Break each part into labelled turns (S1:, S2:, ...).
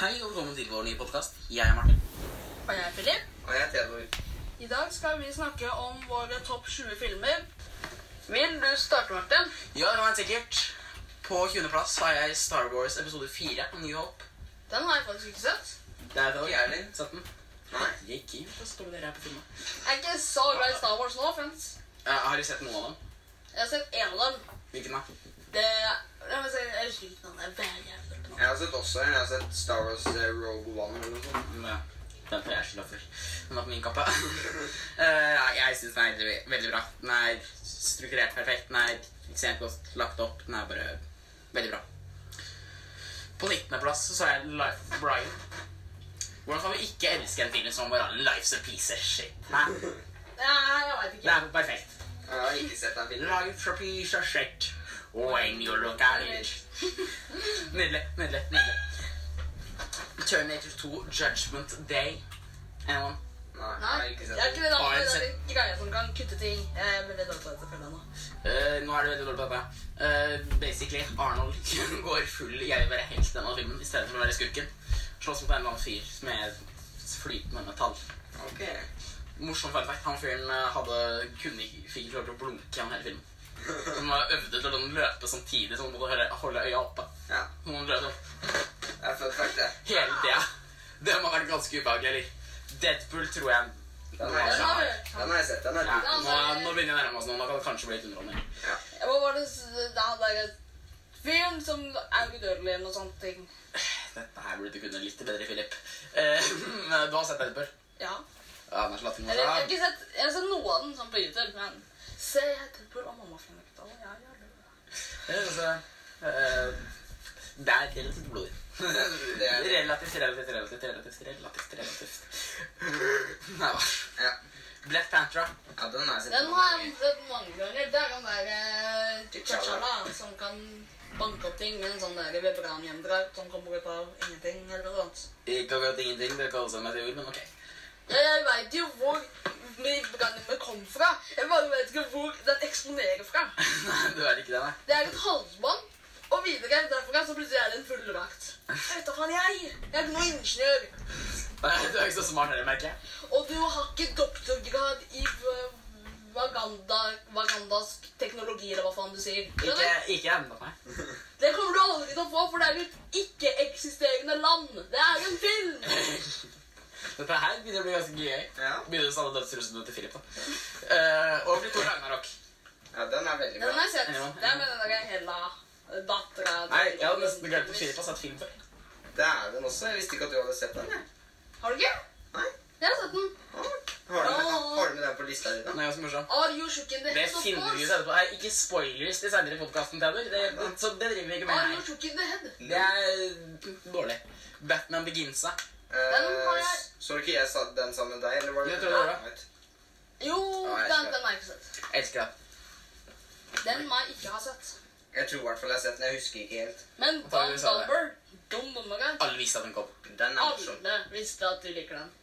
S1: Hei og velkommen til vår nye podkast. Jeg er Martin.
S2: Og jeg er Philip.
S3: Og jeg er Theodor.
S2: I dag skal vi snakke om våre topp 20 filmer. Vil du starte, Martin?
S1: Ja, det var en sikkert. På 20. plass har jeg Star Wars episode 4, A New Hope.
S2: Den har jeg faktisk ikke sett.
S1: Det er vel
S3: Ikke jeg, eller?
S1: Satt den? Nei, jeg gikk inn for å stå der her på filmen.
S2: Jeg er ikke så glad i Star Wars nå, friends.
S1: Eh, har du sett noen av dem?
S2: Jeg har sett én av dem.
S1: Hvilken da?
S2: Det Jeg, må si, jeg husker ikke navnet. Jeg er veldig jævlig dårlig på navn.
S3: Jeg har sett også en. Jeg har sett Star Wars eh, Rogue One eller noe sånt.
S1: Ja. Den tar jeg skylda for. Den var på min kappe. Eh, ja, jeg syns den er veldig- veldig bra. Den er strukturert perfekt. Den er ekstremt godt lagt opp. Den er bare veldig bra. På 19.-plass så er Life of Brian. Hvordan kan vi ikke elske en film som moralen 'Life's a piece of shit'? Hæ?
S2: Nei, jeg vet
S1: Det
S2: ikke.
S1: er perfekt.
S3: Jeg har ikke sett den filmen.
S1: Life's a piece of shit when you look at it. Nydelig, nydelig, nydelig. Terminator 2, Judgment Day. Anyone?
S3: Nei, jeg
S2: Nei,
S3: har
S2: jeg
S3: ikke
S2: er
S3: sett
S2: ikke
S3: den.
S2: det
S1: Har
S2: navnet.
S1: jeg
S2: Det er litt greia som kan kutte ting. Jeg er veldig dårlig på dette følget nå.
S1: Eh, nå er det veldig dårlig på dette. Eh, basically, Arnold går full Jeg vil være helt denne filmen i stedet for å være skurken. Slåss mot en eller annen fyr med flytende metall.
S3: Ok.
S1: Morsom fun fact. Han fyren eh, hadde kunne ikke fikk ikke lov til å blunke gjennom hele filmen. Så han øvde til å løpe samtidig som han måtte holde, holde øya oppe.
S3: Ja,
S1: Så han løp sånn
S3: det er fun fact, det.
S1: hele tida. Det må ha vært ganske ubehagelig. eller? Deadpool tror jeg
S3: Den har jeg
S2: Den har
S3: sett.
S2: du.
S3: Den har jeg sett. Den er
S1: ja,
S3: god.
S1: nå, nå begynner jeg å nærme meg oss nå. Nå kan det kanskje bli litt underholdning.
S3: Ja.
S2: Hva var det s- det hadde jeg Film som er udødelig eller noe sånt. ting.
S1: Dette her burde du kunne litt bedre, Philip. Eh, du har sett Deadpool?
S2: Ja.
S1: Ja, den er så latin.
S2: Eller, jeg, har ikke sett, jeg har sett noe av den sånn på YouTube, men Se, jeg tenker på mamma finner ut av det. Ja, ja, ja.
S1: Det er altså, eh, det er relativt blodig.
S3: Det er det.
S1: Relativt, relativt, relativt, relativt, relativt, relativt. Nei, hva?
S3: Ja.
S1: Black Panther.
S3: ja, den har jeg sett.
S2: Den har jeg sett mange ganger. Det er den der eh,
S3: T'Challa.
S2: T'Challa som kan banke opp ting med en sånn der vibranhjemdrag som kommer ut av ingenting eller noe sånt.
S1: Ikke akkurat ingenting, det kalles en meteor, men ok.
S2: Jeg veit jo hvor vibranhjemmet kom fra. Jeg bare vet ikke hvor den eksponerer fra.
S1: Nei, du er ikke det, nei.
S2: Det er et halsbånd, og videre derfra så plutselig er det en fulldrakt. Jeg vet da faen, jeg. Jeg er ikke noen ingeniør.
S1: Nei, Du er ikke så smart heller, merker jeg.
S2: Og du har ikke doktorgrad i v- Waganda, wagandask teknologi, eller hva faen du sier.
S1: Ikke,
S2: Skjønner?
S1: ikke enda, nei.
S2: Det kommer du aldri til å få, for det er et ikke-eksisterende land. Det er en film!
S1: Dette her begynner å bli ganske gøy.
S3: Ja.
S1: Begynner å savne dødsrussene til Philip, da. Eh, og blir Thor Ragnarok.
S3: ja, den er veldig
S2: Den
S3: bra.
S2: har jeg sett.
S1: Ja.
S2: Det er med den der hella dattera
S1: Nei, jeg hadde nesten glemt at Philip har sett film før.
S3: Det er den også. Jeg visste ikke at du hadde sett den. jeg.
S2: Har du ikke?
S3: Nei.
S2: Jeg har sett den.
S3: Ah, Har du, med, har du med den på lista di, da?
S1: Den er ganske morsom.
S2: Are you shook in the
S1: Det
S2: head of
S1: finner vi ut
S2: course?
S1: etterpå. Nei, ikke spoilers til senere i podkasten, Theodor. Det, det, så det driver vi ikke med
S2: Are you
S1: her.
S2: shook in the head?
S1: Det er dårlig. Batman Begins, da.
S2: Den har jeg-
S3: Eh, så du ikke jeg sa den sammen med deg, eller var det
S1: Jeg tror det var det.
S3: Right.
S2: Jo,
S3: jeg
S2: den,
S3: skal-
S2: den har jeg ikke sett.
S1: Jeg Elsker det.
S2: Den må jeg ikke ha sett.
S3: Jeg tror i hvert fall jeg har sett den. Jeg husker ikke helt.
S2: Men
S1: Hva faen
S2: Don
S1: sa du?
S2: Dolber, dum nummergang.
S1: Alle visste at den kom.
S3: Den er morsom.
S2: Alle visste at du liker den.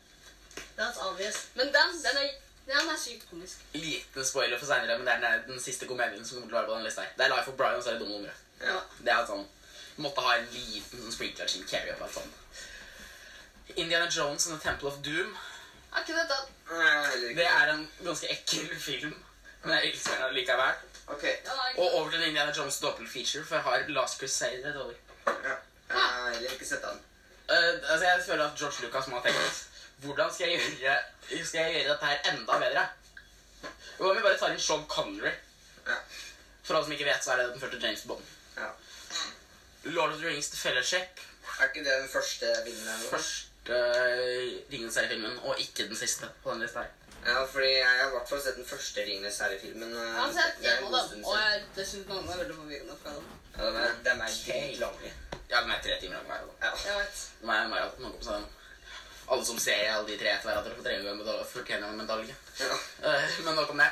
S2: That's obvious. Men den, den, er, den er sykt komisk.
S1: Liten spoiler for senere, men det er den, den siste komedien som kommer til å være på den lista her. Det er Life of Brian, og så er det Dumme numre.
S3: Ja.
S1: Det er sånn Måtte ha en liten sånn sprinkler sin carry up. Sånn. Indiana Jones and The Temple of Doom.
S2: Er ikke dette
S3: Nei, jeg har heller ikke.
S1: Det er en ganske ekkel film, men jeg elsker den likevel.
S3: Ok.
S2: ja, nei.
S1: Og over til Indiana Jones dobbeltfeature, for jeg har Last Crusade et år.
S3: Ja. Jeg har heller ikke sett den.
S1: Eh, altså jeg føler at George Lucas må ha tenkt Hvordan skal jeg gjøre Skal jeg gjøre dette her enda bedre? Hva om vi bare tar inn Sean Connery?
S3: Ja.
S1: For alle som ikke vet, så er det den første James Bond.
S3: ja.
S1: Lord of the Rings The Fellowship.
S3: Er ikke det den første vinneren? vår?
S1: Første Ringenes herre-filmen, og ikke den siste på den lista her.
S3: Ja, fordi jeg har i hvert fall sett den første Ringenes herre-filmen. eh,
S2: Jeg har sett
S3: det er en
S2: en av
S3: god
S2: dem,
S3: stund
S2: og
S3: siden.
S2: jeg dessuten noen er veldig forvirrende fra dem.
S3: Ja, den er- Den er
S1: Ok.
S3: dritlange.
S1: Ja, den er tre timer lang hver. da.
S3: Ja.
S2: Jeg vet.
S1: Den er en maraton, man går på sånn. Alle som ser alle de tre etter hverandre, får tre ganger medalje, fortjener en medalje.
S3: Ja.
S1: Eh, men nok om det.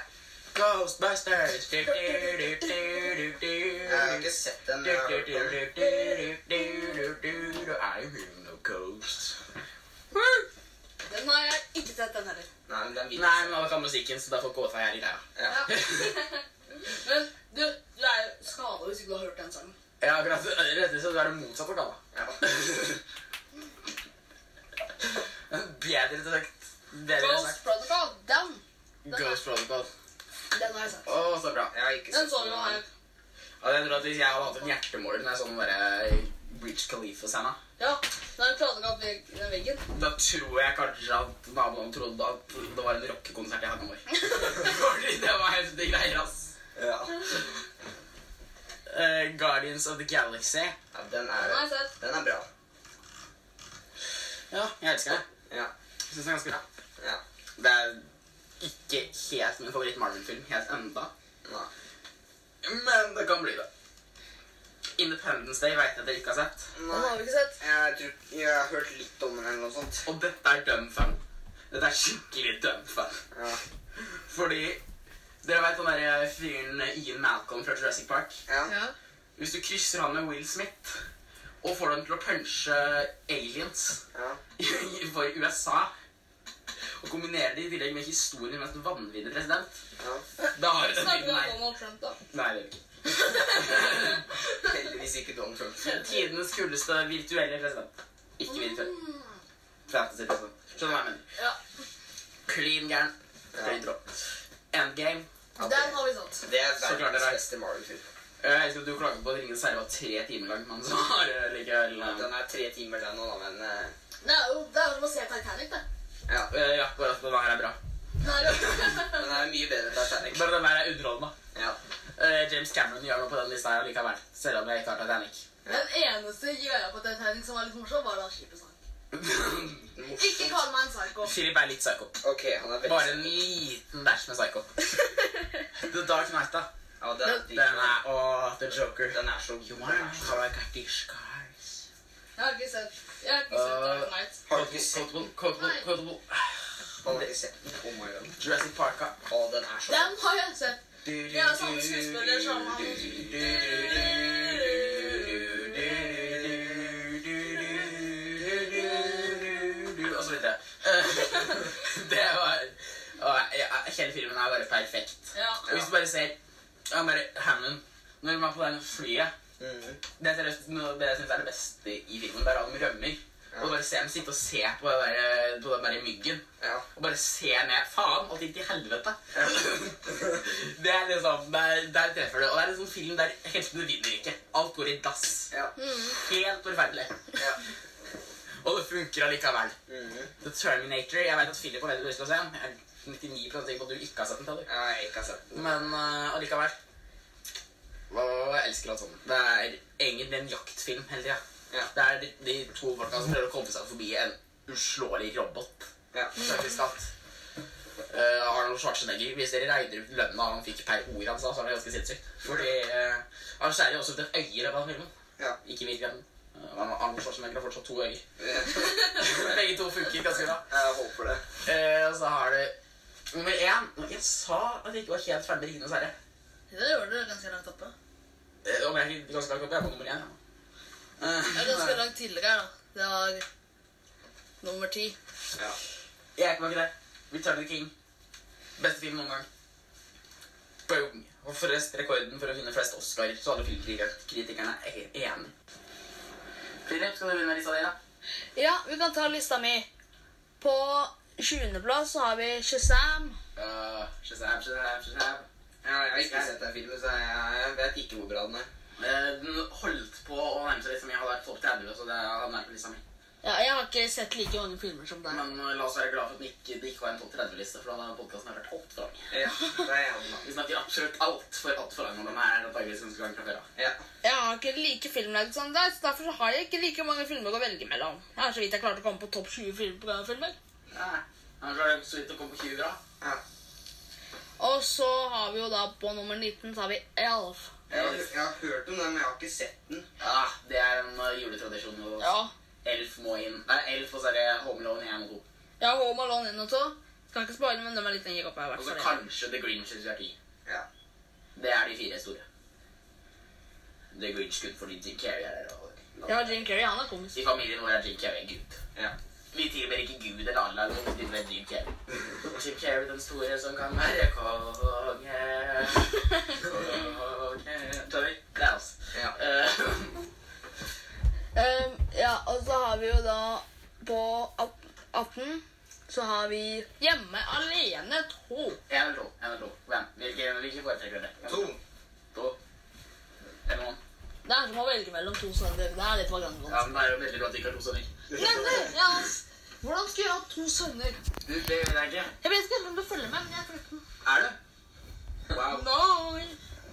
S1: Ghostbusters! Du, du, du, du, du, du.
S3: Jeg har ikke sett den.
S1: Du,
S3: Jeg har
S1: du,
S3: hørt
S1: du,
S3: om
S1: du,
S3: den.
S1: du, du, du, du, du. I'm hearing no ghosts.
S2: Den har jeg ikke sett, den heller.
S3: Nei, men den vil
S1: Nei, men alle kan musikken, så da får gåta her i greia.
S3: Ja.
S2: Ja. Men du, du er jo skada hvis ikke du har hørt den sangen.
S1: Ja, akkurat. Rett og slett, du er det motsatte av Kalla.
S3: Ja.
S1: bedre sagt. Bedre
S2: Ghost
S1: sagt.
S2: Protocol, den. Den er-
S1: Ghost Protocol.
S2: Den har jeg sett.
S1: Å, så bra.
S3: Jeg har ikke
S2: Den
S3: sett
S2: så jo
S3: noe
S2: her.
S3: annet.
S1: Og jeg tror at Hvis jeg hadde hatt en hjertemåler når jeg sånn så den derre Breach Khalifa-scena,
S2: Ja, den klatret opp vegg- den veggen.
S1: da tror jeg kanskje at naboene trodde at det var en rockekonsert i Hanamor. Fordi det var heftige greier, ass.
S3: Ja.
S1: Eh, Guardians of the Galaxy.
S3: ja, den
S2: Den har jeg
S3: er
S2: sett.
S3: Den er bra.
S1: Ja, jeg elsker det.
S3: Ja.
S1: Jeg synes det er ganske bra.
S3: Ja.
S1: Det er ikke helt min favoritt Marvel-film helt enda.
S3: Nei.
S1: Men det kan bli det. Independence Day vet jeg at dere ikke har sett.
S2: Den har
S3: Nei.
S2: vi ikke sett.
S3: Jeg tror Jeg har hørt litt om den eller noe sånt.
S1: Og dette er dumb fun. Dette er skikkelig dumb fun.
S3: Ja.
S1: Fordi dere vet den der fyren eh, Ian Malcolm fra Jurassic Park?
S3: Ja.
S2: Ja.
S1: Hvis du krysser han med Will Smith og får dem til å punche aliens
S3: ja.
S1: for USA og kombinerer det i tillegg med historien med en vanvittig president,
S3: ja.
S1: da har du den
S2: Snakker
S1: filmen
S2: vi om
S1: her.
S2: Donald Trump, da?
S1: Nei, det er ikke.
S3: Heldigvis ikke Donald Trump.
S1: Tidenes kuleste virtuelle president. Ikke virtuell.
S2: Mm.
S1: Fantasy-president. Skjønner du hva jeg mener?
S2: Ja,
S1: Clean gæren. Clean drop. Endgame.
S3: Ja,
S2: den har vi sett.
S3: Det er
S1: Så klart det
S3: verdens
S1: er.
S3: beste Marvel-film.
S1: Eh, Jeg elsker at du klager på at Ringenes herre var tre timer lang, men så har det likevel
S3: Ja,
S1: eh,
S3: Den er tre timer, den òg, men eh,
S2: Det er jo det er jo som å se Titanic, det.
S3: ja.
S1: eh, Ja, bare at den her er bra.
S2: Det er jo-
S3: Den er mye bedre enn Titanic.
S1: Bare den her er underholdende.
S3: Ja.
S1: Eh, James Cameron gjør noe på den lista her likevel, selv om jeg ikke har Titanic.
S2: Den eneste greia på Titanic som var litt morsom, var da skipet sank. Ikke
S3: Morsomt.
S2: kall meg en psycho.
S1: Philip er litt psycho.
S3: Ok, han er veldig
S1: Bare en liten dash med psycho. The Dark Knight, da.
S3: Ja, den,
S1: Den er Og The Joker.
S3: den er så
S1: You are Karagati Scars.
S2: Jeg har ikke sett Jeg har ikke sett Dark Knight.
S3: Har du ikke sett den?
S1: Quotable, quotable,
S2: Nei.
S1: quotable.
S3: Har du ikke sett den? Oh my god.
S1: Jurassic Park, da.
S3: Å, den er så
S2: Den har jeg sett. Ja, samme skuespiller som han.
S1: Og så videre. Eh, Det var og, ja, Hele filmen er bare perfekt.
S2: Ja.
S1: Og Hvis du bare ser han bare Hammond Når man er på den flyet
S3: Mhm.
S1: Det er seriøst noe av det jeg syns er det beste i filmen. Bare at de rømmer. Og bare se dem sitte og se på, det der, på den der myggen.
S3: Ja.
S1: Og bare se ned. Faen, alt gikk til helvete. det er liksom Der, der treffer du. Og det er en sånn film der heltene vinner ikke. Alt går i dass.
S3: Ja.
S1: Helt forferdelig.
S3: ja.
S1: Og det funker allikevel.
S3: Mhm.
S1: The Terminator Jeg vet at Philip har veldig lyst til å se den. Jeg er 99 sikker på at du ikke har sett den. Taylor.
S3: Ja, jeg har ikke sett den.
S1: Men eh, allikevel. Og jeg elsker alt sammen. Det er egentlig en jaktfilm hele tida.
S3: Ja.
S1: Det er de, de to folka som prøver å komme seg forbi en uslåelig robot.
S3: Ja.
S1: Faktisk at eh, Arnold Schwarzenegger Hvis dere regner ut lønna han fikk per ord han sa, så er det ganske sinnssykt. Fordi eh, han skjærer jo også ut et øye i løpet av filmen.
S3: Ja.
S1: Ikke i virkeligheten. Eh, men Arnold Schwarzenegger har fortsatt to øyer.
S3: Jeg
S1: Begge to funker ganske bra.
S3: håper det.
S1: Eh, og så har du nummer én. Jeg sa at jeg ikke var helt ferdig med Ringenes herre.
S2: Det gjorde du ganske langt oppe.
S1: Eh, om jeg ikke ganske langt oppe, jeg er på nummer én. ja. Eh,
S2: Det er ganske langt tidligere, da. Det var nummer ti.
S3: Ja.
S1: Jeg er ikke bak der. Return of the King. Beste film noen gang. Boom. Og forresten rekorden for å finne flest Oscar, så alle filmkritikerne er helt enige. Philip, skal du begynne med lista di, da?
S2: Ja, vi kan ta lista mi. På 20. plass så har vi Shazam.
S1: Uh, shazam, shazam, shazam.
S3: Ja, jeg har ikke sett den filmen, så jeg vet ikke hvor bra den er.
S1: Eh, den holdt på å nærme seg liksom jeg hadde vært topp 30, så det hadde nærmet lista mi.
S2: Ja, jeg har ikke sett like mange filmer som deg.
S1: Men eh, la oss være glad for at den ikke, det ikke var en topp 30-liste, for da hadde podkasten vært altfor lang.
S3: Ja, det er jeg da.
S1: Vi snakker absolutt altfor altfor lang om den her antakeligvis ganske lang fra før av.
S3: Ja.
S2: Jeg har ikke like filmlag som deg, så derfor så har jeg ikke like mange filmer å velge mellom. Jeg har så vidt jeg klarte å komme på topp 20 film- programfilmer.
S1: Nei, Han klarte så vidt å komme på 20 bra.
S3: Ja.
S2: Og så har vi jo da på nummer 19 så har vi Elf.
S3: Jeg, har, jeg har hørt om den, men jeg har ikke sett den.
S1: Ja, det er en eh, juletradisjon. Og
S2: Ja.
S1: Elf må inn. Nei, Elf og så er det Home Alone 1 og 2.
S2: Jeg har Home Alone 1 og 2. Kan ikke spoile, men de er litt lenger oppe. i
S1: Og
S2: hvert
S1: så
S2: fall.
S1: kanskje The Grinch hvis vi er ti.
S3: Ja.
S1: Det er de fire store. The Grinch Good fordi Jim Carrey er der. og-
S2: Ja, Jim Carrey, han er komisk.
S1: I familien vår er Jim Carrey Gud.
S3: Ja.
S1: Vi tilber ikke Gud eller Allah, men vi tilber Jim Carrey. Jim Carrey den store som kan være konge. Konge. Tøy. Det er oss.
S3: Ja.
S1: Eh,
S2: Ehm, ja, og så har vi jo da på at- 18 Så har vi Hjemme alene to.
S1: En eller to. En eller to. Hvem? Hvilke, hvilke foretrekker dere?
S3: To.
S1: To. Eller noen?
S2: Det er som å velge mellom to sønner. Det er litt
S1: Ja,
S2: vagant vanskelig.
S1: men det er jo veldig bra at de ikke har to sønner.
S2: Nevner! eh, Ja, ass. Hvordan skal jeg ha to sønner?
S1: Du, det gjør jeg ikke.
S2: Jeg vet ikke om du følger med, men jeg følger med.
S1: Er du? Wow.
S2: No.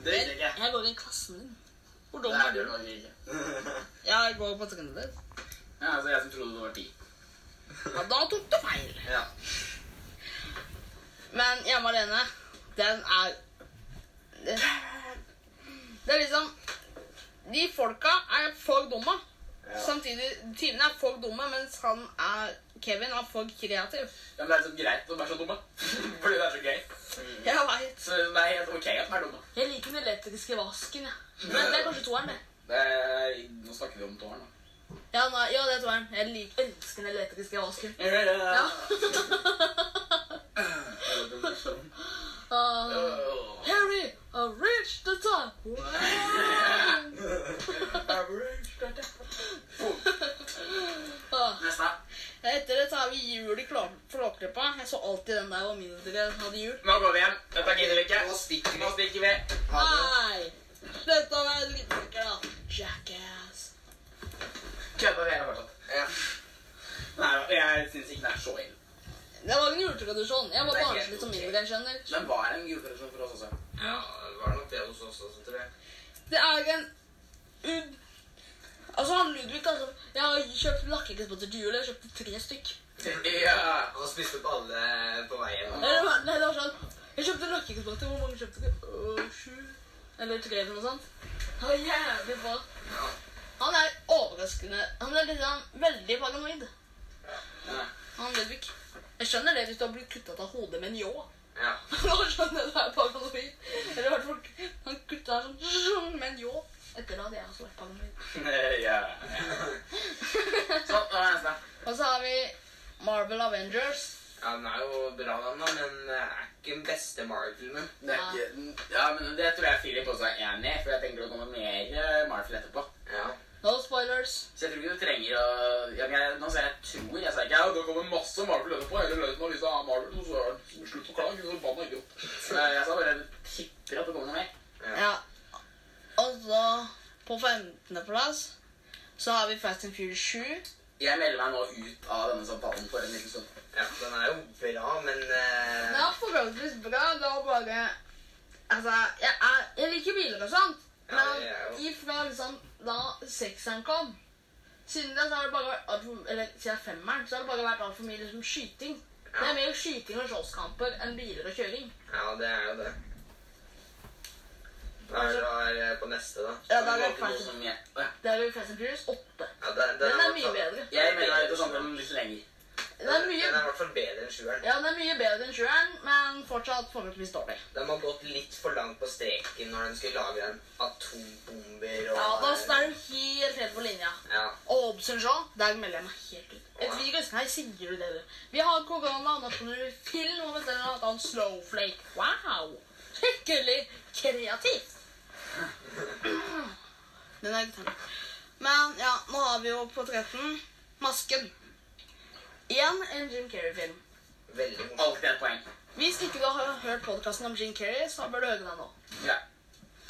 S1: Det gjør jeg ikke.
S2: Jeg går i klassen din. Hvor dum
S1: Det
S2: er
S1: er
S2: du?
S1: det nok ikke.
S2: Jeg går på sekundet.
S1: Ja, altså, jeg som trodde du var ti.
S2: Ja, da tok du feil.
S1: Ja.
S2: Men hjemme alene, den er Det det er liksom De folka er for dumme. Samtidig Tine er for dumme, mens han er Kevin er for kreativ.
S1: Ja, men det er så greit å være så dumme. Fordi det er så gøy.
S2: Jeg veit.
S1: Så det er helt ok at de er dumme.
S2: Jeg liker den elektriske vasken, jeg. Men det er kanskje toeren, det.
S1: Det er, nå snakker vi om tårn, da.
S2: Ja, nei, ja det er toeren. Jeg liker, elsker den elektriske vasken. Ja.
S1: Ja.
S2: Ah, Harry, I reached the top. Ah.
S1: Neste.
S2: Etter det tar vi jul i Flå- Flåklypa. Jeg så alltid den der var min da jeg hadde jul.
S1: Nå går vi hjem. Dette gidder vi ikke.
S3: Nå Ah. stikker
S1: Nå
S3: vi.
S1: stikker vi.
S3: Ha det.
S2: Nei! Dette var en liten uke, da. Jackass.
S1: Kødder dere fortsatt?
S3: Ja.
S1: Nei, jeg syns ikke det er så ille.
S2: Det var en juletradisjon. Jeg var
S1: Det er
S2: barnslig
S1: helt
S2: som
S1: ok.
S2: mindre, jeg skjønner.
S1: Den var en juletradisjon for oss også.
S3: ja, det var nok det hos oss også, tror jeg.
S2: Det er en ud... Altså, han Ludvig, altså. Jeg har kjøpt lakkekrespotter til jul. Jeg kjøpte tre stykk.
S1: Ja.
S3: Han spiste opp alle på veien.
S2: Nei, det var- nei, det var sånn. Jeg kjøpte lakkekrespotter. Hvor mange kjøpte du? Øh, Sju? Eller tre, eller noe sånt. Det var jævlig bra.
S3: Ja.
S2: Han er overraskende Han er liksom veldig paranoid.
S1: Ja.
S2: Han Ludvig. Jeg skjønner det hvis du har blitt kuttet av hodet med en ljå.
S3: Ja.
S2: Da skjønner jeg det er paranoid. Eller i hvert fall han kutta sånn zzzung med en ljå. Etter det hadde jeg også vært paranoid.
S1: ja. Sånn, nå er neste.
S2: Og så har vi Marvel Avengers.
S3: Ja, den er jo bra, den, da, men det er ikke den beste Marvel-filmen.
S1: Det er ikke, ja, men det tror jeg Philip også er enig i, for jeg tenker å komme mer eh, Marvel etterpå.
S3: Ja.
S2: No spoilers.
S1: Så jeg tror ikke du trenger å ja, men jeg, Nå sier jeg tror, jeg sier ikke ja, det kommer masse Marvel etterpå. Hele løyten har lyst til å ha Marvel, og så er det slutt å klage. Så banna idiot. Så Jeg sa bare tipper at det kommer noe mer.
S2: Ja. Og så på 15. plass så har vi Fast and Furious 7.
S1: Jeg melder meg nå ut av denne samtalen for en liten stund.
S3: ja. Den er jo bra, men eh,
S2: Det er forholdsvis bra. Det var bare Altså, jeg, er, jeg liker biler og sånt,
S3: Ja,
S2: men
S3: det er jo-
S2: ifra liksom da sekseren kom Siden da så har det bare vært alt for, Eller siden femmeren så har det bare vært altfor mye liksom skyting. Det er mer skyting og slåsskamper enn biler og kjøring.
S3: Ja, det er jo det. Da er det da, eh, på neste, da.
S2: Ja,
S1: Det
S2: da er
S1: var
S2: det
S1: ikke noe
S2: Fast
S1: som jeg, Å, ja.
S2: det er jo Fast and Furious 8.
S3: Ja, den,
S2: Den er
S3: i
S2: mye
S3: hvert fall-
S2: bedre.
S1: jeg melder meg ut av samtalen litt lenger.
S2: Den er
S3: sånn- Den er
S2: mye,
S3: i hvert fall bedre enn sjueren.
S2: ja, den er mye bedre enn sjueren, men fortsatt forholdsvis dårlig.
S3: De har gått litt for langt på streken når de skulle lage den atombomber og
S2: Ja, da er du helt, helt på linja.
S3: Ja.
S2: Og Obsen Jean, der melder jeg meg helt ut. Et virus, nei, sier du det, du. Vi har korona, nå kan du film om et eller annet annet snowflake. Wow! Skikkelig kreativt. Den er ikke tanken. Men ja, nå har vi jo på 13 Masken. Igjen en Jim Carrey-film.
S3: Veldig morsomt.
S1: Alltid et poeng.
S2: Hvis ikke du har hørt podkasten om Jim Carrey, så bør du høre den nå.
S1: Ja.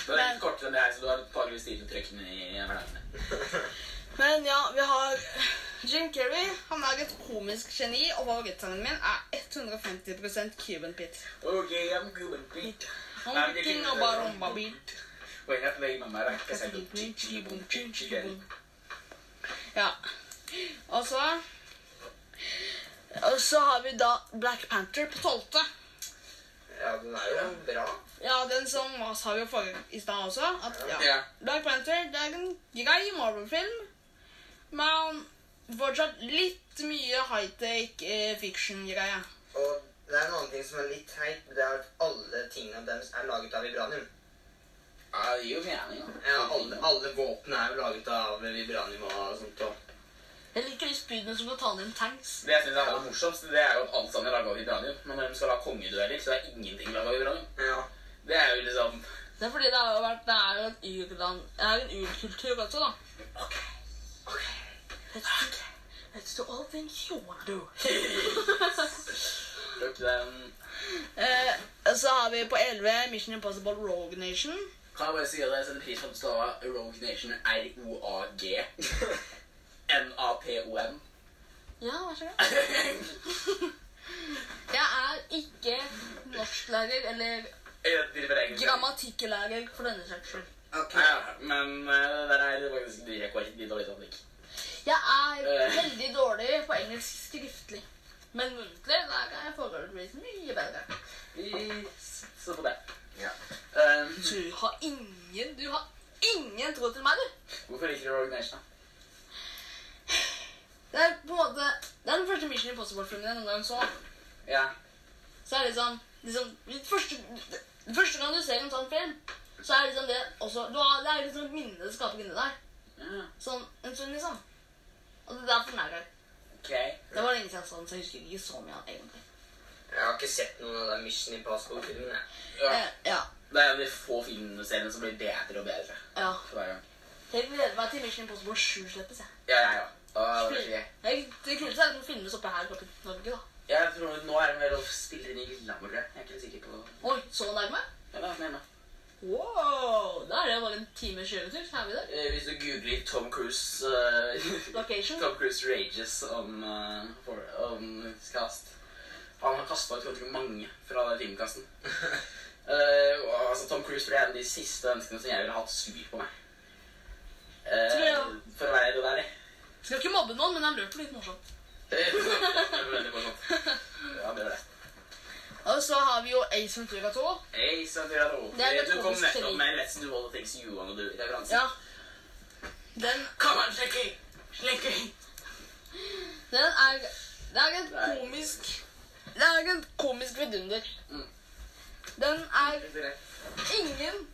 S1: Du er
S2: Men-
S1: litt kortere enn det her, så du har antakeligvis tid til å trekke den i hverdagen. din.
S2: Men ja, vi har Jim Carrey. Han er et komisk geni, og favorittsangen min er 150 Cuban Pit.
S1: Ok, I'm good and beat.
S2: I'm
S1: I'm
S2: thinking
S1: thinking
S2: about
S1: about
S2: rumba
S1: rumba
S2: beat.
S1: When I play my maracas, I do chi-chi-boom, chi-chi-boom.
S2: Ja. Og så Og så har vi da Black Panther på tolvte.
S3: Ja, den er jo bra.
S2: Ja, den som var- sa vi jo forrige i stad også. At, ja.
S1: Ja.
S2: Black Panther det er en grei Marvel-film, men fortsatt litt mye high-tech eh, fiction-greie.
S3: Og det er en annen ting som er litt teit, det er at alle tingene deres er laget av vibranium.
S1: Ja, det gir jo mening, da.
S3: Ja, alle, alle våpen er jo laget av vibranium og sånt. Og.
S2: Jeg liker de spydene som tar ned tanks.
S1: Det jeg synes er aller morsomst, det er jo at alt sammen er laget av vibranium. Men når de skal ha kongedueller, så er ingenting laget av vibranium.
S3: Ja.
S1: Det er jo liksom
S2: Det er fordi det har jo vært Det er jo en urland Det er jo en urkultur også, da.
S1: Ok,
S2: Let's do, let's do all things you wanna do.
S1: plukke opp den.
S2: Eh, så har vi på 11 Mission Impossible Rogue Nation.
S1: Kan jeg bare si at jeg setter pris på at du staver Rogue Nation R-O-A-G. N-A-P-O-N.
S2: Ja, vær så god. Jeg er ikke norsklærer eller
S1: Jeg vet ikke hva det er egentlig.
S2: grammatikklærer for denne saks skyld.
S1: Nei, Ja, men eh, det der er faktisk dritdårlig dårlig taktikk.
S2: Jeg er
S1: Eh.
S2: veldig dårlig på engelsk skriftlig. Men muntlig der kan jeg forholdsvis mye bedre.
S1: Vi ser på det.
S3: Ja.
S1: Um,
S2: Du har ingen Du har ingen tro til meg, du.
S1: hvorfor liker du Rogue Nation? da?
S2: Det er på en måte Det er den første Mission Impossible-filmen jeg noen gang så.
S1: Ja.
S2: Så er det liksom, liksom det første, det første gang du ser en sånn film, så er liksom det også du har, Det er liksom et minne det skaper inni deg.
S1: ja.
S2: Sånn en stund, liksom. Og det er derfor den er der.
S1: Ok.
S2: Det var lenge siden jeg så den, så jeg husker ikke så mye av den egentlig.
S3: Jeg har ikke sett noen av de Mission Impossible-filmene.
S1: Ja.
S2: Eh, ja,
S1: Det er en av de få filmseriene som blir bedre og bedre.
S2: ja.
S1: for hver gang.
S2: Jeg gleder meg til Mission Impossible 7 slippes, jeg.
S1: Ja, ja, ja. Åh, det blir så gøy.
S2: Jeg, det kunne seg liksom filmes oppe her oppe i Norge, da.
S1: Jeg tror nå er det mer å spille inn i Lillehammer, tror jeg. Jeg er ikke helt sikker på
S2: Oi, så nærme?
S1: ja, da, nei, nei.
S2: Wow! Da er det bare en times kjøretur, så er vi der.
S1: Eh, Hvis du googler Tom Cruise eh,
S2: Location.
S1: Tom Cruise rages om, eh, for, om cast. Han har kasta ut ganske mange fra den filmkassen. Eh, og, altså, Tom Cruise tror jeg er en av de siste menneskene som jeg ville hatt sur på meg. Eh,
S2: Tror jeg også.
S1: for å være det der, jeg.
S2: Skal ikke mobbe noen, men han løper litt morsomt.
S1: Det er veldig morsomt. Ja, det er det.
S2: Og så har vi jo Ace Ventura 2.
S1: Hey, Sandra Rowe.
S2: Det er litt
S1: Du kom
S2: komisk
S1: nettopp
S2: fordi-
S1: med Let's Do All The Things You Wanna Do-referansen.
S2: Ja. Den,
S1: Kom an, Slinky! Slinky!
S2: den er Det er et komisk Det er et komisk vidunder.
S1: Mm.
S2: Den er
S1: Det
S2: Ingen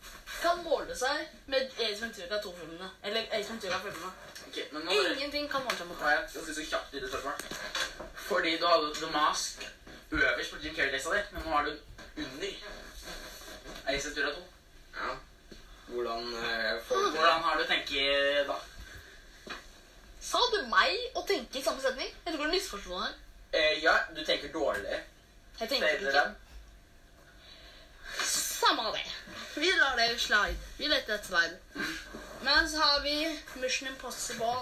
S2: kan måle seg med Ace Ventura 2-filmene. Eller Ace Ventura-filmene.
S1: Ok, men nå har jeg
S2: Ingenting kan måle seg mot
S1: nå
S2: det.
S1: har jeg et ganske så kjapt lite spørsmål. Fordi du hadde The Mask øverst på Jim Carrey-lista di, men nå har du den under. Ace Ventura 2.
S3: Ja. Hvordan eh, får du det?
S1: Hvordan har du tenkt da?
S2: Sa du meg å tenke i samme setning? Jeg tror du misforsto den her.
S1: Eh, ja, du tenker dårlig.
S2: Jeg tenker
S1: Bedre
S2: ikke.
S1: den.
S2: Samme av det. Vi lar det slide. Vi leter etter verden. Men så har vi Mission Impossible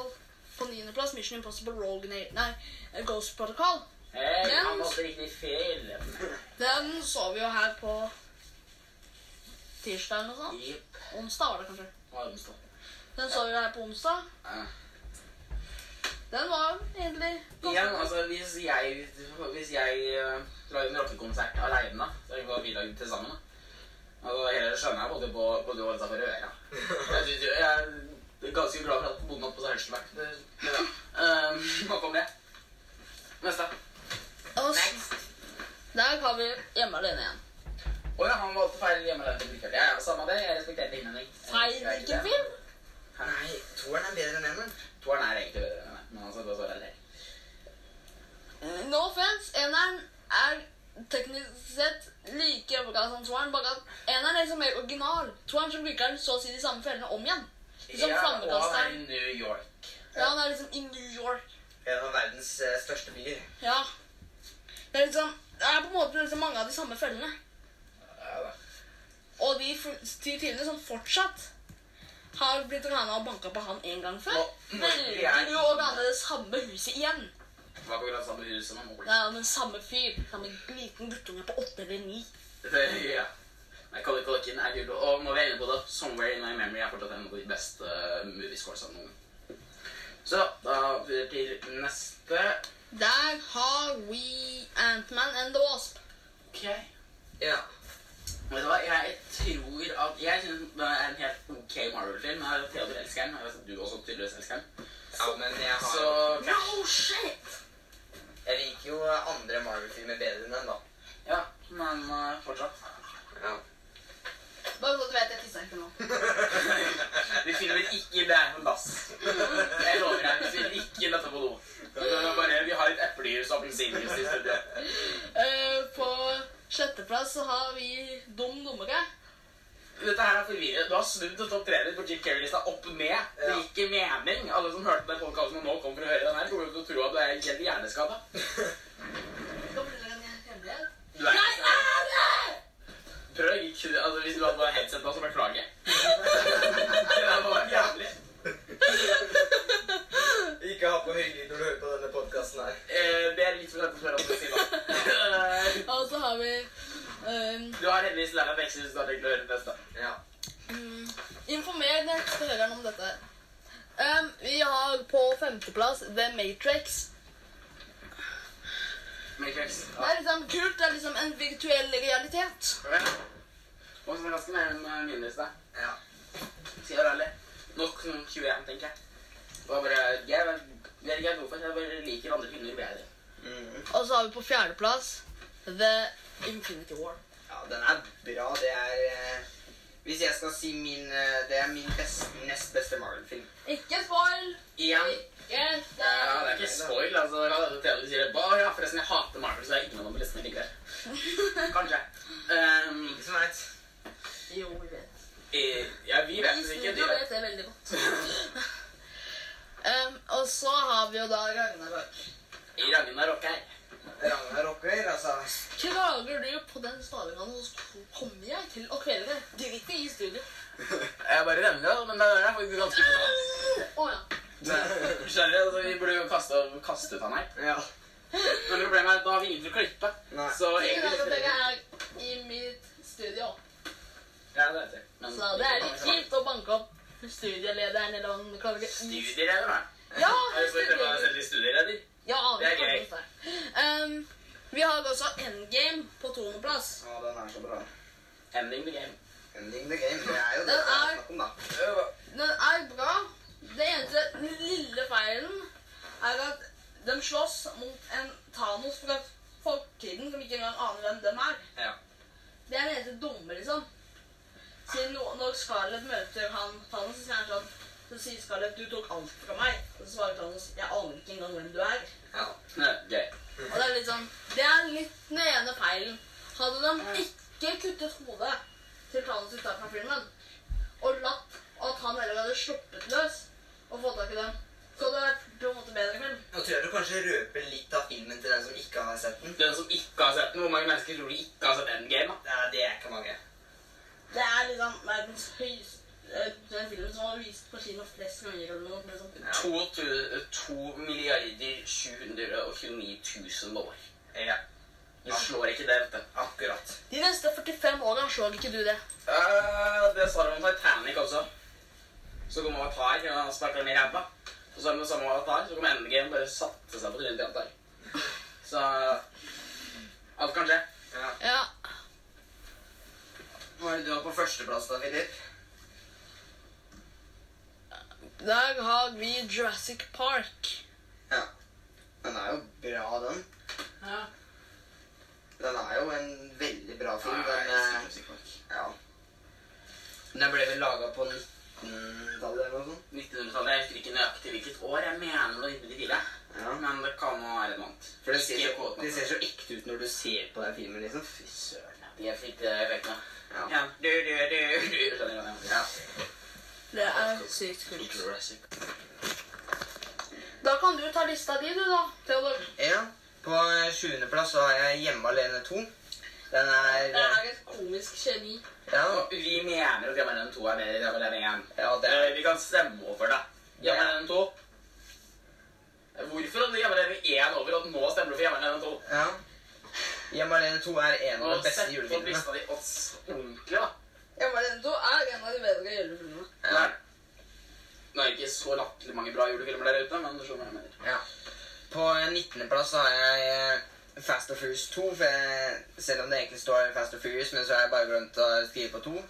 S2: på niendeplass. Mission Impossible Rogue Na- Nei, Ghost Protocol.
S1: Hey,
S2: Den-
S1: han måtte riktig feil.
S2: Den så vi jo her på tirsdag eller noe sånt.
S1: Jepp.
S2: Onsdag var det kanskje.
S1: Armstad.
S2: Den så vi jo her på onsdag.
S1: Ja.
S2: Den var egentlig
S1: Igjen,
S2: ganske
S1: altså, hvis jeg, hvis jeg eh, lager en rockekonsert alene, så er det hva vi lager til sammen. da. Altså, hele skjønner jeg både på både å holde seg for øra. Jeg, synes jo- jeg er ganske glad for at bonden oppe på seg Hølsenberg. Det- det er bra. Um, Nok om det. Neste.
S2: Og s- Der har vi Hjemme alene igjen.
S1: Å ja, han valgte feil hjemme der. til Richard. Ja, ja, samme det. Jeg respekterte innvending.
S2: Feil hvilken film?
S3: Nei, toeren er bedre enn eneren.
S1: Toeren er egentlig bedre enn meg, men altså, det var heller.
S2: No offense, eneren er teknisk sett like bra som toeren, bare at eneren er liksom mer original. Toeren som bruker den så å si de samme fellene om igjen. Liksom
S1: Ja, og han er
S2: flammekasteren.
S1: i New York.
S2: Ja, han er liksom i New York.
S3: En av verdens eh, største byer.
S2: Ja. Det er liksom Det er på en måte liksom mange av de samme fellene.
S1: Ja, da.
S2: Og de f- de tidene som fortsatt har blitt rana og banka på han en gang før,
S1: Nå- nå- vi er-
S2: velger jo å rane det samme huset igjen.
S1: Var på grunn av samme hus som han bor i.
S2: Det er den samme fyr. Samme liten guttunge på åtte eller ni.
S1: Det- Ja. Nei, Color Collecting er kult. Og når vi er inne på det, 'Somewhere In My Memory' er fortsatt en av de beste uh, moviescoresene noen gang. Så da videre til neste.
S2: Der har vi Ant-Man and the Wasp.
S1: Ok.
S3: Ja.
S1: Vet du hva, jeg tror at Jeg synes det er en helt ok Marvel-film. Jeg er Theodor elsker den. Jeg vet at Du også tydeligvis elsker den.
S3: ja, men jeg har
S1: Så
S2: No shit!
S3: Jeg liker jo eh, andre Marvel-filmer bedre enn den, da.
S1: Ja, men eh, fortsatt.
S3: Ja.
S2: Bare så du vet, jeg tisser ikke nå.
S1: Vi finner vel ikke det her på dass. Jeg lover deg, vi finner ikke dette på do. Det er bare, vi har et eplejus og appelsinjuice i studio.
S2: Eh, på sjetteplass så har vi Dum dummere.
S1: Dette her er forvirret. Du har snudd topp tre-list på Jim Carrey-lista opp ned. Det
S3: Ja.
S1: gir ikke mening. Alle som hørte den podkasten og nå kommer for å høre den her, kommer til å tro at du er helt hjerneskada.
S2: Skal vi lage en hemmelig,
S1: altså,
S3: ikke ha på høyde når du hører på denne podkasten her.
S1: Eh, det er litt for sent å spørre om det, Simon.
S2: Og så har vi ehm,
S1: Du har heldigvis lært deg lekser, så du har tenkt å høre det neste.
S3: Ja.
S2: Mm, informer den ekte høyeren om dette. Ehm, vi har på femteplass The Matrix.
S1: Matrix.
S2: Det er liksom kult. Det er liksom en virtuell realitet.
S1: Og så rasker med hun minnes deg.
S3: ja.
S1: Sier alle. Nok som 21, tenker jeg. Det var bare, jeg vet jeg vet ikke helt hvorfor, jeg bare liker andre kvinner bedre.
S3: Mm.
S2: Og så har vi på fjerdeplass The Infinity War.
S3: ja, den er bra. Det er eh, Hvis jeg skal si min eh, Det er min best, nest beste Marvel-film.
S2: Ikke spoil!
S1: Igjen.
S2: Ikke
S1: Ja, det er ikke spoil, altså. Hva er det Theo du sier? Bare, ja, forresten, jeg hater Marvel, så det er ikke noe på listen likevel. Kanskje. Ehm,
S3: Ikke som veit.
S2: Jo, vi vet.
S1: eh, ja, vi vet det ikke. De vet.
S2: det veldig godt. Ehm, og så har vi jo da Ragnarok.
S1: Ragnarok her.
S3: Ragnarok her, altså.
S2: Klager du på den stavinga, så kommer jeg til å kvele deg. Drit i studio.
S1: Jeg bare nevner det, men det er faktisk ganske bra.
S2: Å ja.
S1: Skjønner du? Altså, vi burde jo kaste, kaste ut han her.
S3: Ja.
S1: Men problemet er at da har vi ingen til å klippe.
S3: Nei.
S1: Så
S2: Sier
S1: egentlig...
S2: at dere er i mitt studio,
S1: Ja, det vet jeg. Men-
S2: så det er litt kjipt å banke opp studielederen eller hva man kaller det.
S1: Studiereder, da.
S2: Ja,
S1: Er det så ikke bare å
S2: studieleder.
S1: sette studiereder?
S2: Ja,
S1: Det er gøy.
S2: Um, vi har også Endgame på toendeplass.
S3: Å, den er så bra.
S1: Ending the game.
S3: Ending the game. Det er jo det
S2: Den
S3: det er
S2: er-
S3: snakk om, da.
S2: Den er bra. Det eneste den lille feilen er at de slåss mot en Thanos fra fortiden som ikke engang aner hvem dem er.
S1: Ja.
S2: Det er det eneste dumme, liksom. Siden no- når Scarlett møter han Thanos, så sier han sånn så sier Scarlett 'du tok alt fra meg'. Og så svarer Thanos 'jeg aner ikke engang hvem du er'.
S3: Ja.
S1: Nei, Gøy.
S2: Og Det er litt sånn, det er litt den ene feilen. Hadde de ikke kuttet hodet til Thanos ut av filmen, og latt at han heller hadde sluppet løs og fått tak i dem, så hadde det vært på en måte bedre film.
S3: Nå tror jeg du kanskje røper litt av filmen til den som ikke har sett den.
S1: Den som ikke har sett den, hvor mange mennesker tror de ikke har sett Endgame? da?
S3: Det er, det er ikke mange.
S2: Det er liksom verdens høyeste eh, den filmen som har vist på kino flest ganger eller noe. Liksom.
S1: 2 milliarder 729 000 dollar.
S3: Ja,
S1: Du slår ikke det, vet du.
S3: akkurat.
S2: De neste 45 åra slår ikke du det.
S1: Eh, det sa de om Titanic også. Så kom Avatar og sparka dem i ræva. Og så er det med samme Avatar, så kom Endgame og bare satte seg på trynet til Avatar. Så alt kan skje.
S3: Ja.
S2: Ja.
S3: Hva er det du har på førsteplass da, Philip?
S2: I dag har vi Jurassic Park.
S3: Ja. Den er jo bra, den.
S1: Ja.
S3: Den er jo en veldig bra film. Den, eh, ja. den ble vel laga på 19-tallet eller noe sånt?
S1: 1900-tallet. Jeg husker ikke nøyaktig hvilket år. Jeg mener noe inntil tidlig.
S3: Ja.
S1: Men det kan jo være noe annet.
S3: For det ser,
S1: Ikke
S3: så,
S1: kåt,
S3: det
S1: men-
S3: ser så ekte ut når du ser på den filmen, liksom.
S1: Fy søren. ja. De er fikk det effektene.
S3: Ja.
S1: Ja. Du, du, du, du. Skjønner du hva
S3: Ja.
S2: Det er sykt
S1: jeg
S2: kult.
S1: mener?
S2: Da kan du ta lista di, du, da, Theodor.
S3: ja. På eh, sjuendeplass så har jeg Hjemme alene 2. Den er
S2: Det
S3: eh,
S2: er et komisk geni.
S3: Ja,
S1: Og Vi mener at Jammer NN2 er bedre enn Jammer NN1.
S3: ja det er
S1: Vi kan stemme over det. Jammer NN2. Hvorfor hadde Jammer NN1 over, og nå stemmer du for Jammer NN2?
S3: Ja. Hjemme alene 2 er en av
S1: Nå
S3: de beste
S1: setter opp
S3: julefilmene.
S1: lista di oss ordentlig, da.
S2: Hjemmelento er en av de bedre julefilmene.
S3: Ja.
S1: Nå er det ikke så latterlig mange bra julefilmer der ute, men du skjønner hva jeg mener.
S3: Ja. På 19. plass så har jeg eh, Fast and Furious 2. For jeg, selv om det egentlig står Fast and Furious, men så har jeg bare glemt å skrive på 2.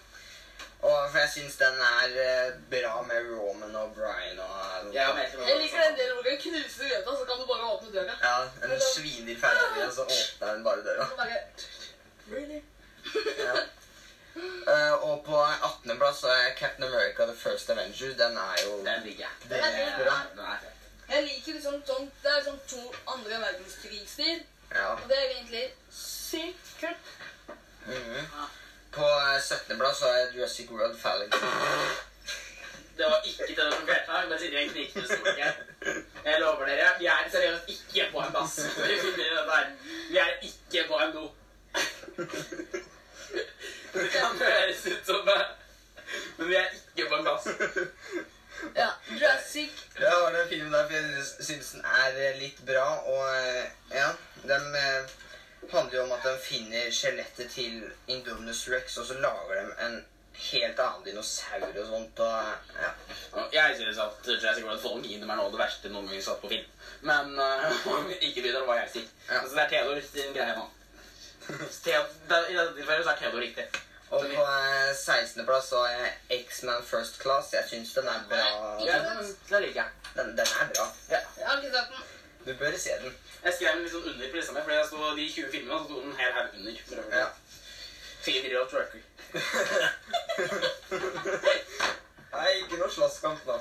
S3: Og for jeg syns den er eh, bra med Roman og Brian og
S1: Jeg har merket meg
S2: Jeg liker den delen hvor du knuser grøta, så kan du bare åpne døra.
S3: Ja, den sviner ferdig, og så åpner den bare døra.
S2: Og bare, really?
S3: Ja. Eh, og på 18. plass så har jeg Captain America The First Avenger. Den er jo
S1: Den digger jeg.
S3: Den er bra.
S1: Den er fett.
S2: Jeg liker liksom sånn Det er sånn to andre verdenskrigstil,
S3: Ja.
S2: og det er egentlig sykt kult.
S3: Mhm. På eh, 17. plass så har jeg Jurassic World Falcon.
S1: Det var ikke det som flertallet, her, men siden jeg knikte storket. Jeg lover dere, vi er seriøst ikke på en dass. når Vi finner dette her. Vi er ikke på en do. Det kan høres ut som det, men vi er ikke på en dass.
S2: Ja, Jurassic
S3: Ja, det var den filmen der, for jeg synes syns den er eh, litt bra, og eh, ja De eh, handler jo om at de finner skjelettet til Indominus Rex, og så lager de en helt annen dinosaur og sånt, og ja.
S1: Og jeg synes at Jurassic World Fallen er noe av det verste noen gang satt på film. Men eh, ikke bry deg om hva jeg sier.
S3: Ja.
S1: Altså, det er Theodor sin greie nå. Så Theo- det, I dette tilfellet så er Theodor riktig.
S3: Og på eh, 16. plass så har jeg X-Man First Class. Jeg syns den er
S1: Ja,
S3: bra.
S1: den, den liker jeg.
S3: Den, den er bra.
S2: Jeg har ikke sett den.
S3: Du bør se den.
S1: Jeg skrev den litt sånn under på lista mi, fordi jeg sto de 20 filmene, og så sto den her her under. For å-
S3: Ja.
S1: Fire Real Trucker.
S3: Nei, ikke noe slåsskamp nå.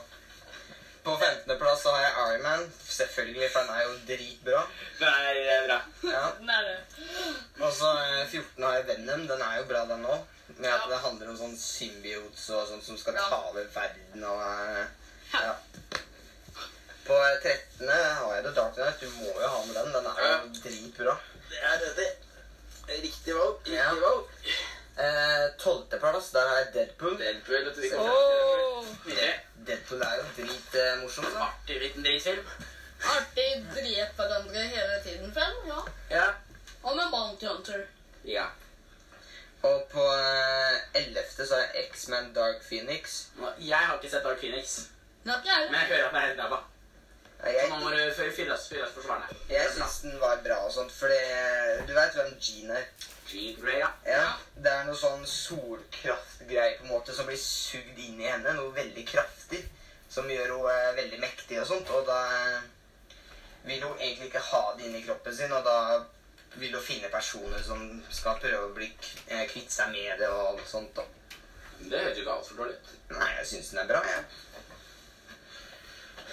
S3: På 15. plass så har jeg Ironman. Selvfølgelig, for den er jo dritbra.
S1: Den er eh, bra.
S3: Ja.
S2: Den er det.
S3: Og så eh, 14 har jeg Venom. Den er jo bra, den òg. Med at det handler om sånn symbiots og sånt som skal
S2: Ja.
S3: ta over verden og eh, Ja. På 13. har jeg The Dark Knight. Du må jo ha med den. Den er jo dritbra.
S1: Det er det. Riktig valg. Riktig
S3: Ja.
S1: valg.
S3: Eh, 12. plass, der har jeg Deadpool.
S1: Deadpool, vet du. vi kommer
S2: Åh,
S1: til det. Videre.
S3: Deadpool er jo dritmorsom. da.
S1: Artig liten drittfilm.
S2: artig drep hverandre hele tiden frem, ja.
S1: Ja.
S2: Og med Bounty Hunter.
S1: Ja.
S3: Og på eh, 11. så har jeg X-Man Dark Phoenix.
S1: Nå, Jeg har ikke sett Dark Phoenix,
S2: Den har ikke jeg.
S1: men jeg hører at den er helt ræva.
S3: Ja,
S1: Så nå
S3: Jeg,
S1: må du fy- fylles fylles for svarene.
S3: jeg syns den var bra og sånt, fordi eh, du veit hvem Jean er?
S1: Jean Grey, ja.
S3: Ja. Det er noe sånn solkraftgreie på en måte som blir sugd inn i henne. Noe veldig kraftig som gjør henne eh, veldig mektig og sånt. Og da eh, vil hun egentlig ikke ha det inni kroppen sin, og da vil hun finne personer som skal prøve å bli k- eh, kvitt seg med det og alt sånt. da.
S1: Det høres jo ikke altfor dårlig ut.
S3: Nei, jeg syns den er bra, jeg.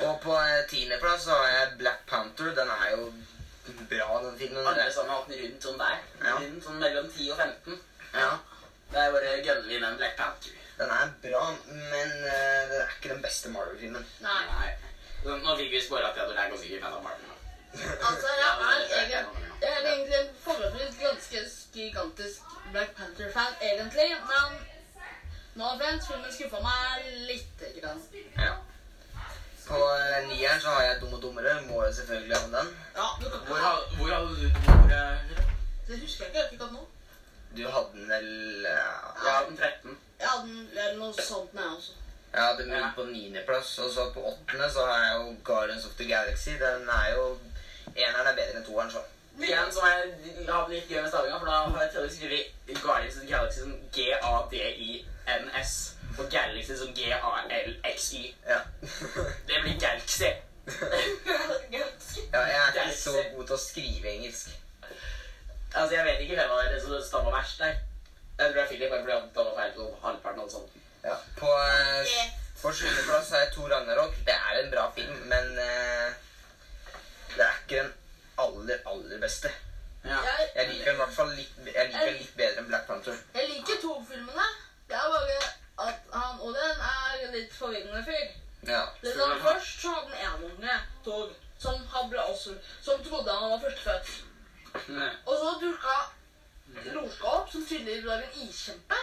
S3: Og på eh, tiendeplass så har jeg Black Panther. Den er jo bra, den filmen.
S1: Alle sammen har hatt den rundt sånn der.
S3: Ja.
S1: Rundt sånn mellom 10 og 15.
S3: Ja,
S1: Der bare gønner vi den Black Panther.
S3: den er bra, men eh, den er ikke den beste Marvel-filmen.
S2: Nei.
S1: Nei. Så Nå fikk vi spore at Theodor er ganske ikke fan av Marvel. nå.
S2: Altså, jeg er egentlig, jeg er egentlig en forholdsvis ganske gigantisk Black Panther-fan, egentlig, men nå har jeg filmen skuffa meg lite grann.
S3: Ja. På eh, nieren så har jeg Dum og dummere. Må jo selvfølgelig ha med den.
S2: Ja, du kan
S1: Hvor ha- hvor hadde du hvor, eh,
S2: Det husker jeg ikke akkurat nå.
S3: Du hadde den vel eh,
S1: Ja, den 13.
S2: Jeg hadde den- eller noe sånt, jeg også.
S3: Jeg hadde den på niendeplass, og så på åttende så har jeg jo Guardians of the Galaxy. Den er jo Eneren er bedre enn toeren, så.
S1: Igjen så har jeg hatt litt gøy med stavinga, for da har jeg Theodor skrevet Guardians of the Galaxy som G-A-D-I-N-S og Galaxy som G-A-L-X-Y.
S3: Ja.
S1: Det blir Galaxy.
S3: ja. Jeg er ikke så god til å skrive engelsk.
S1: Altså, jeg vet ikke hvem av dere som stammer verst der. Jeg tror det er Philip, bare fordi han tar feil på halvparten og sånn.
S3: Ja, på, eh, på sjuendeplass har jeg Thor Ragnarok. Det er en bra film, men eh, det er ikke den aller, aller beste.
S1: Ja.
S3: Jeg liker den i hvert fall litt, jeg liker den litt bedre enn Black Panther.
S2: Jeg liker Thor-filmene. Det er bare at han Odin er en litt forvirrende fyr.
S3: Ja.
S2: Liksom, først så hadde han en unge, Thor, som, han ble også, som trodde han var førstefødt. Og så dukka Loka opp, som tydeligvis var en iskjempe.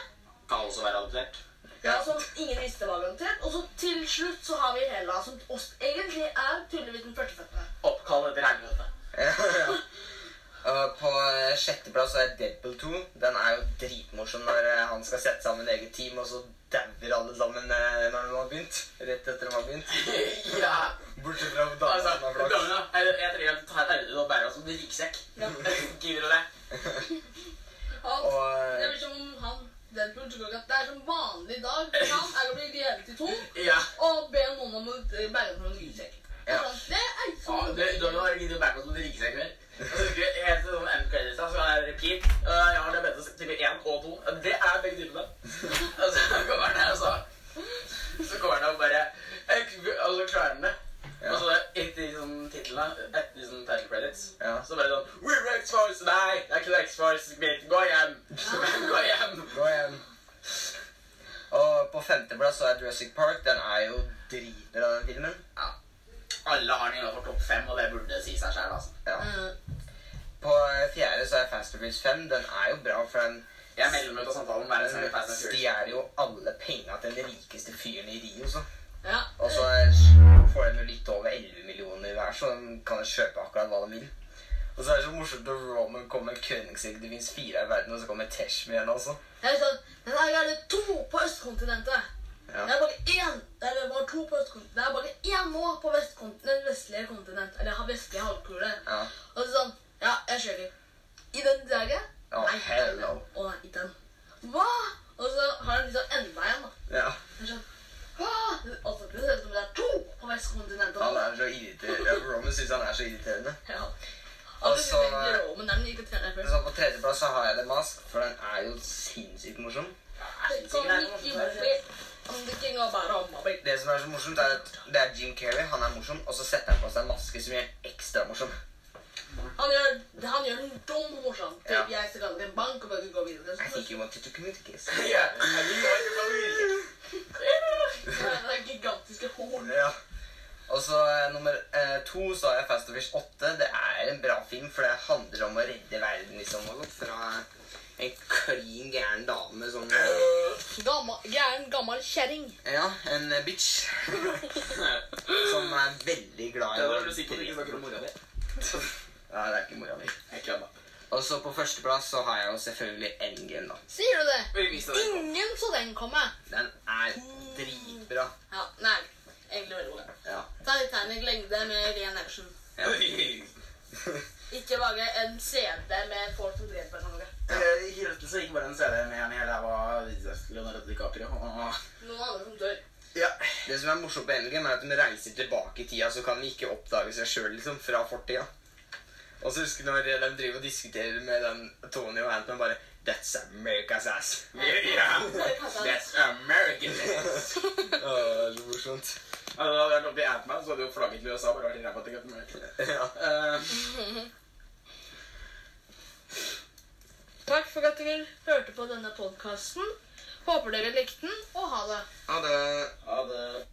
S1: Kan også være adoptert.
S2: Ja, som ingen visste var garantert. Og så til slutt så har vi Hela, som også egentlig er tydeligvis den førstefødte.
S1: Oppkall etter helvete.
S3: Og på eh, sjetteplass har jeg Deadpool 2. Den er jo dritmorsom når eh, han skal sette sammen eget team, og så dauer alle sammen eh, når de har begynt. Rett etter de har begynt.
S1: ja.
S3: Bortsett fra damen
S1: Altså,
S3: som har flaks.
S1: damene, jeg, jeg tror jeg tar Arvid og bærer oss som en ryggsekk.
S2: Ja.
S1: Gidder du det?
S2: Han,
S3: Og
S2: det
S3: eh,
S2: blir som om han Deadpool tror at det er som vanlig dag for han er å bli delt i to
S1: Ja.
S2: og be noen om å eh, bære på en ryggsekk.
S3: Ja.
S2: Det er
S1: Ja,
S2: sånn.
S1: du, du har jo gidder å bære oss som en ryggsekk mer. Jeg husker helt til sånn MK-lista, så er det repeat. Uh, jeg har diabetes type 1 og 2. Det er begge typene. Og så kommer han her, og så Så kommer han og bare Og så klarer han det. Og så etter sånn titlene, etter sånn title credits,
S3: Ja.
S1: så bare sånn We're X-Force! Nei, det er ikke noe X-Force. Greit, Gå hjem! Gå hjem!
S3: Gå hjem. Og på femteplass så er Jurassic Park. Den er jo dritbra, den filmen.
S1: Alle har den innenfor topp fem, og det burde si seg selv, altså.
S3: Ja.
S2: Eh,
S3: På eh, fjerde så er Fast and Furious 5. Den er jo bra, for den,
S1: Jeg melder meg ut av samtalen. Vær så snill, Fast and Furious.
S3: stjeler jo alle penga til den rikeste fyren i Rio, så.
S2: Ja.
S3: Og så er får de jo litt over 11 millioner hver, så de kan jo kjøpe akkurat hva de vil. Og så er det så morsomt når Roman kommer med Königsegg. Det fins fire i verden, og så kommer Tesh med en altså. også.
S2: Jeg vet at sånn, Den her er det to på østkontinentet.
S3: Ja.
S2: Det er bare én eller bare to på østkontinentet. Det er bare én nå på vestkont- den vestlige kontinent, eller ha- vestlige halvkule.
S3: Ja.
S2: Og så sånn Ja, jeg kjører. I den draget?
S3: Ja,
S2: nei,
S3: hello.
S2: Å nei, i den. Hva? Og så har han liksom enda en, da.
S3: ja.
S2: Det er sånn Hva? Altså, det ser ut som det er to på vestkontinentet.
S3: Han er så irriterende. Roman syns han er så irriterende.
S2: Ja.
S3: Og
S2: Altså,
S3: så-
S2: Roman er den irriterende først.
S3: Så på tredjeplass så har jeg The Mask, for den er jo sinnssykt morsom.
S2: Sånn Mickey Mouse, I'm the king of Arama, baby.
S3: Det som er så morsomt, er at det er Jim Carrey, han er morsom, og så setter han på seg en maske som gjør han ekstra morsom.
S2: Han gjør, han gjør den dum morsom. Typ,
S3: Ja.
S2: Jeg skal til en bank og bare gå videre.
S3: I think you wanted to communicate.
S1: Ja, vi var ikke familie.
S2: Ja, det er gigantiske horn.
S3: Ja. Og så eh, nummer eh, to så har jeg Fast and Furious 8. Det er en bra film, for det handler om å redde verden, liksom. Og sånt, fra en klin gæren dame som eh,
S4: Gammal, gæren, gammel kjerring.
S3: Ja, en eh, bitch. Som er veldig glad
S1: Det
S3: i
S1: var du sikkert ikke snakker om mora di.
S3: Ja, det er ikke mora mi.
S1: Jeg kødda.
S3: Og så på førsteplass så har jeg jo selvfølgelig Endgame, da.
S4: Sier du det?
S1: Vil du vise deg den?
S4: Ingen så den komme.
S3: Den er dritbra.
S2: Ja, nei, egentlig veldig god.
S3: Ja.
S2: Titanic lengde med ren action.
S3: ja.
S1: Oi.
S2: Ikke bare en CD med folk som dreper hverandre.
S1: Eh, I Hirottelse gikk bare en CD med en hel ræva Leonardo DiCaprio. og-
S2: Noen andre som dør.
S1: Ja.
S3: Det som er morsomt på Endgame, er at de reiser tilbake i tida, så kan de ikke oppdage seg sjøl liksom, fra fortida. Og så husker du når de driver og diskuterer med den Tony og Anton bare That's America's ass.
S1: That's American.
S3: Å, så morsomt.
S1: Altså, hadde jeg kommet i Ant-Man, så hadde jo flagget til USA bare vært i ræva til Captain America.
S3: Ja.
S1: Eh,
S4: Takk for at dere hørte på denne podkasten. Håper dere likte den, og ha det.
S3: Ha det.
S1: Ha det.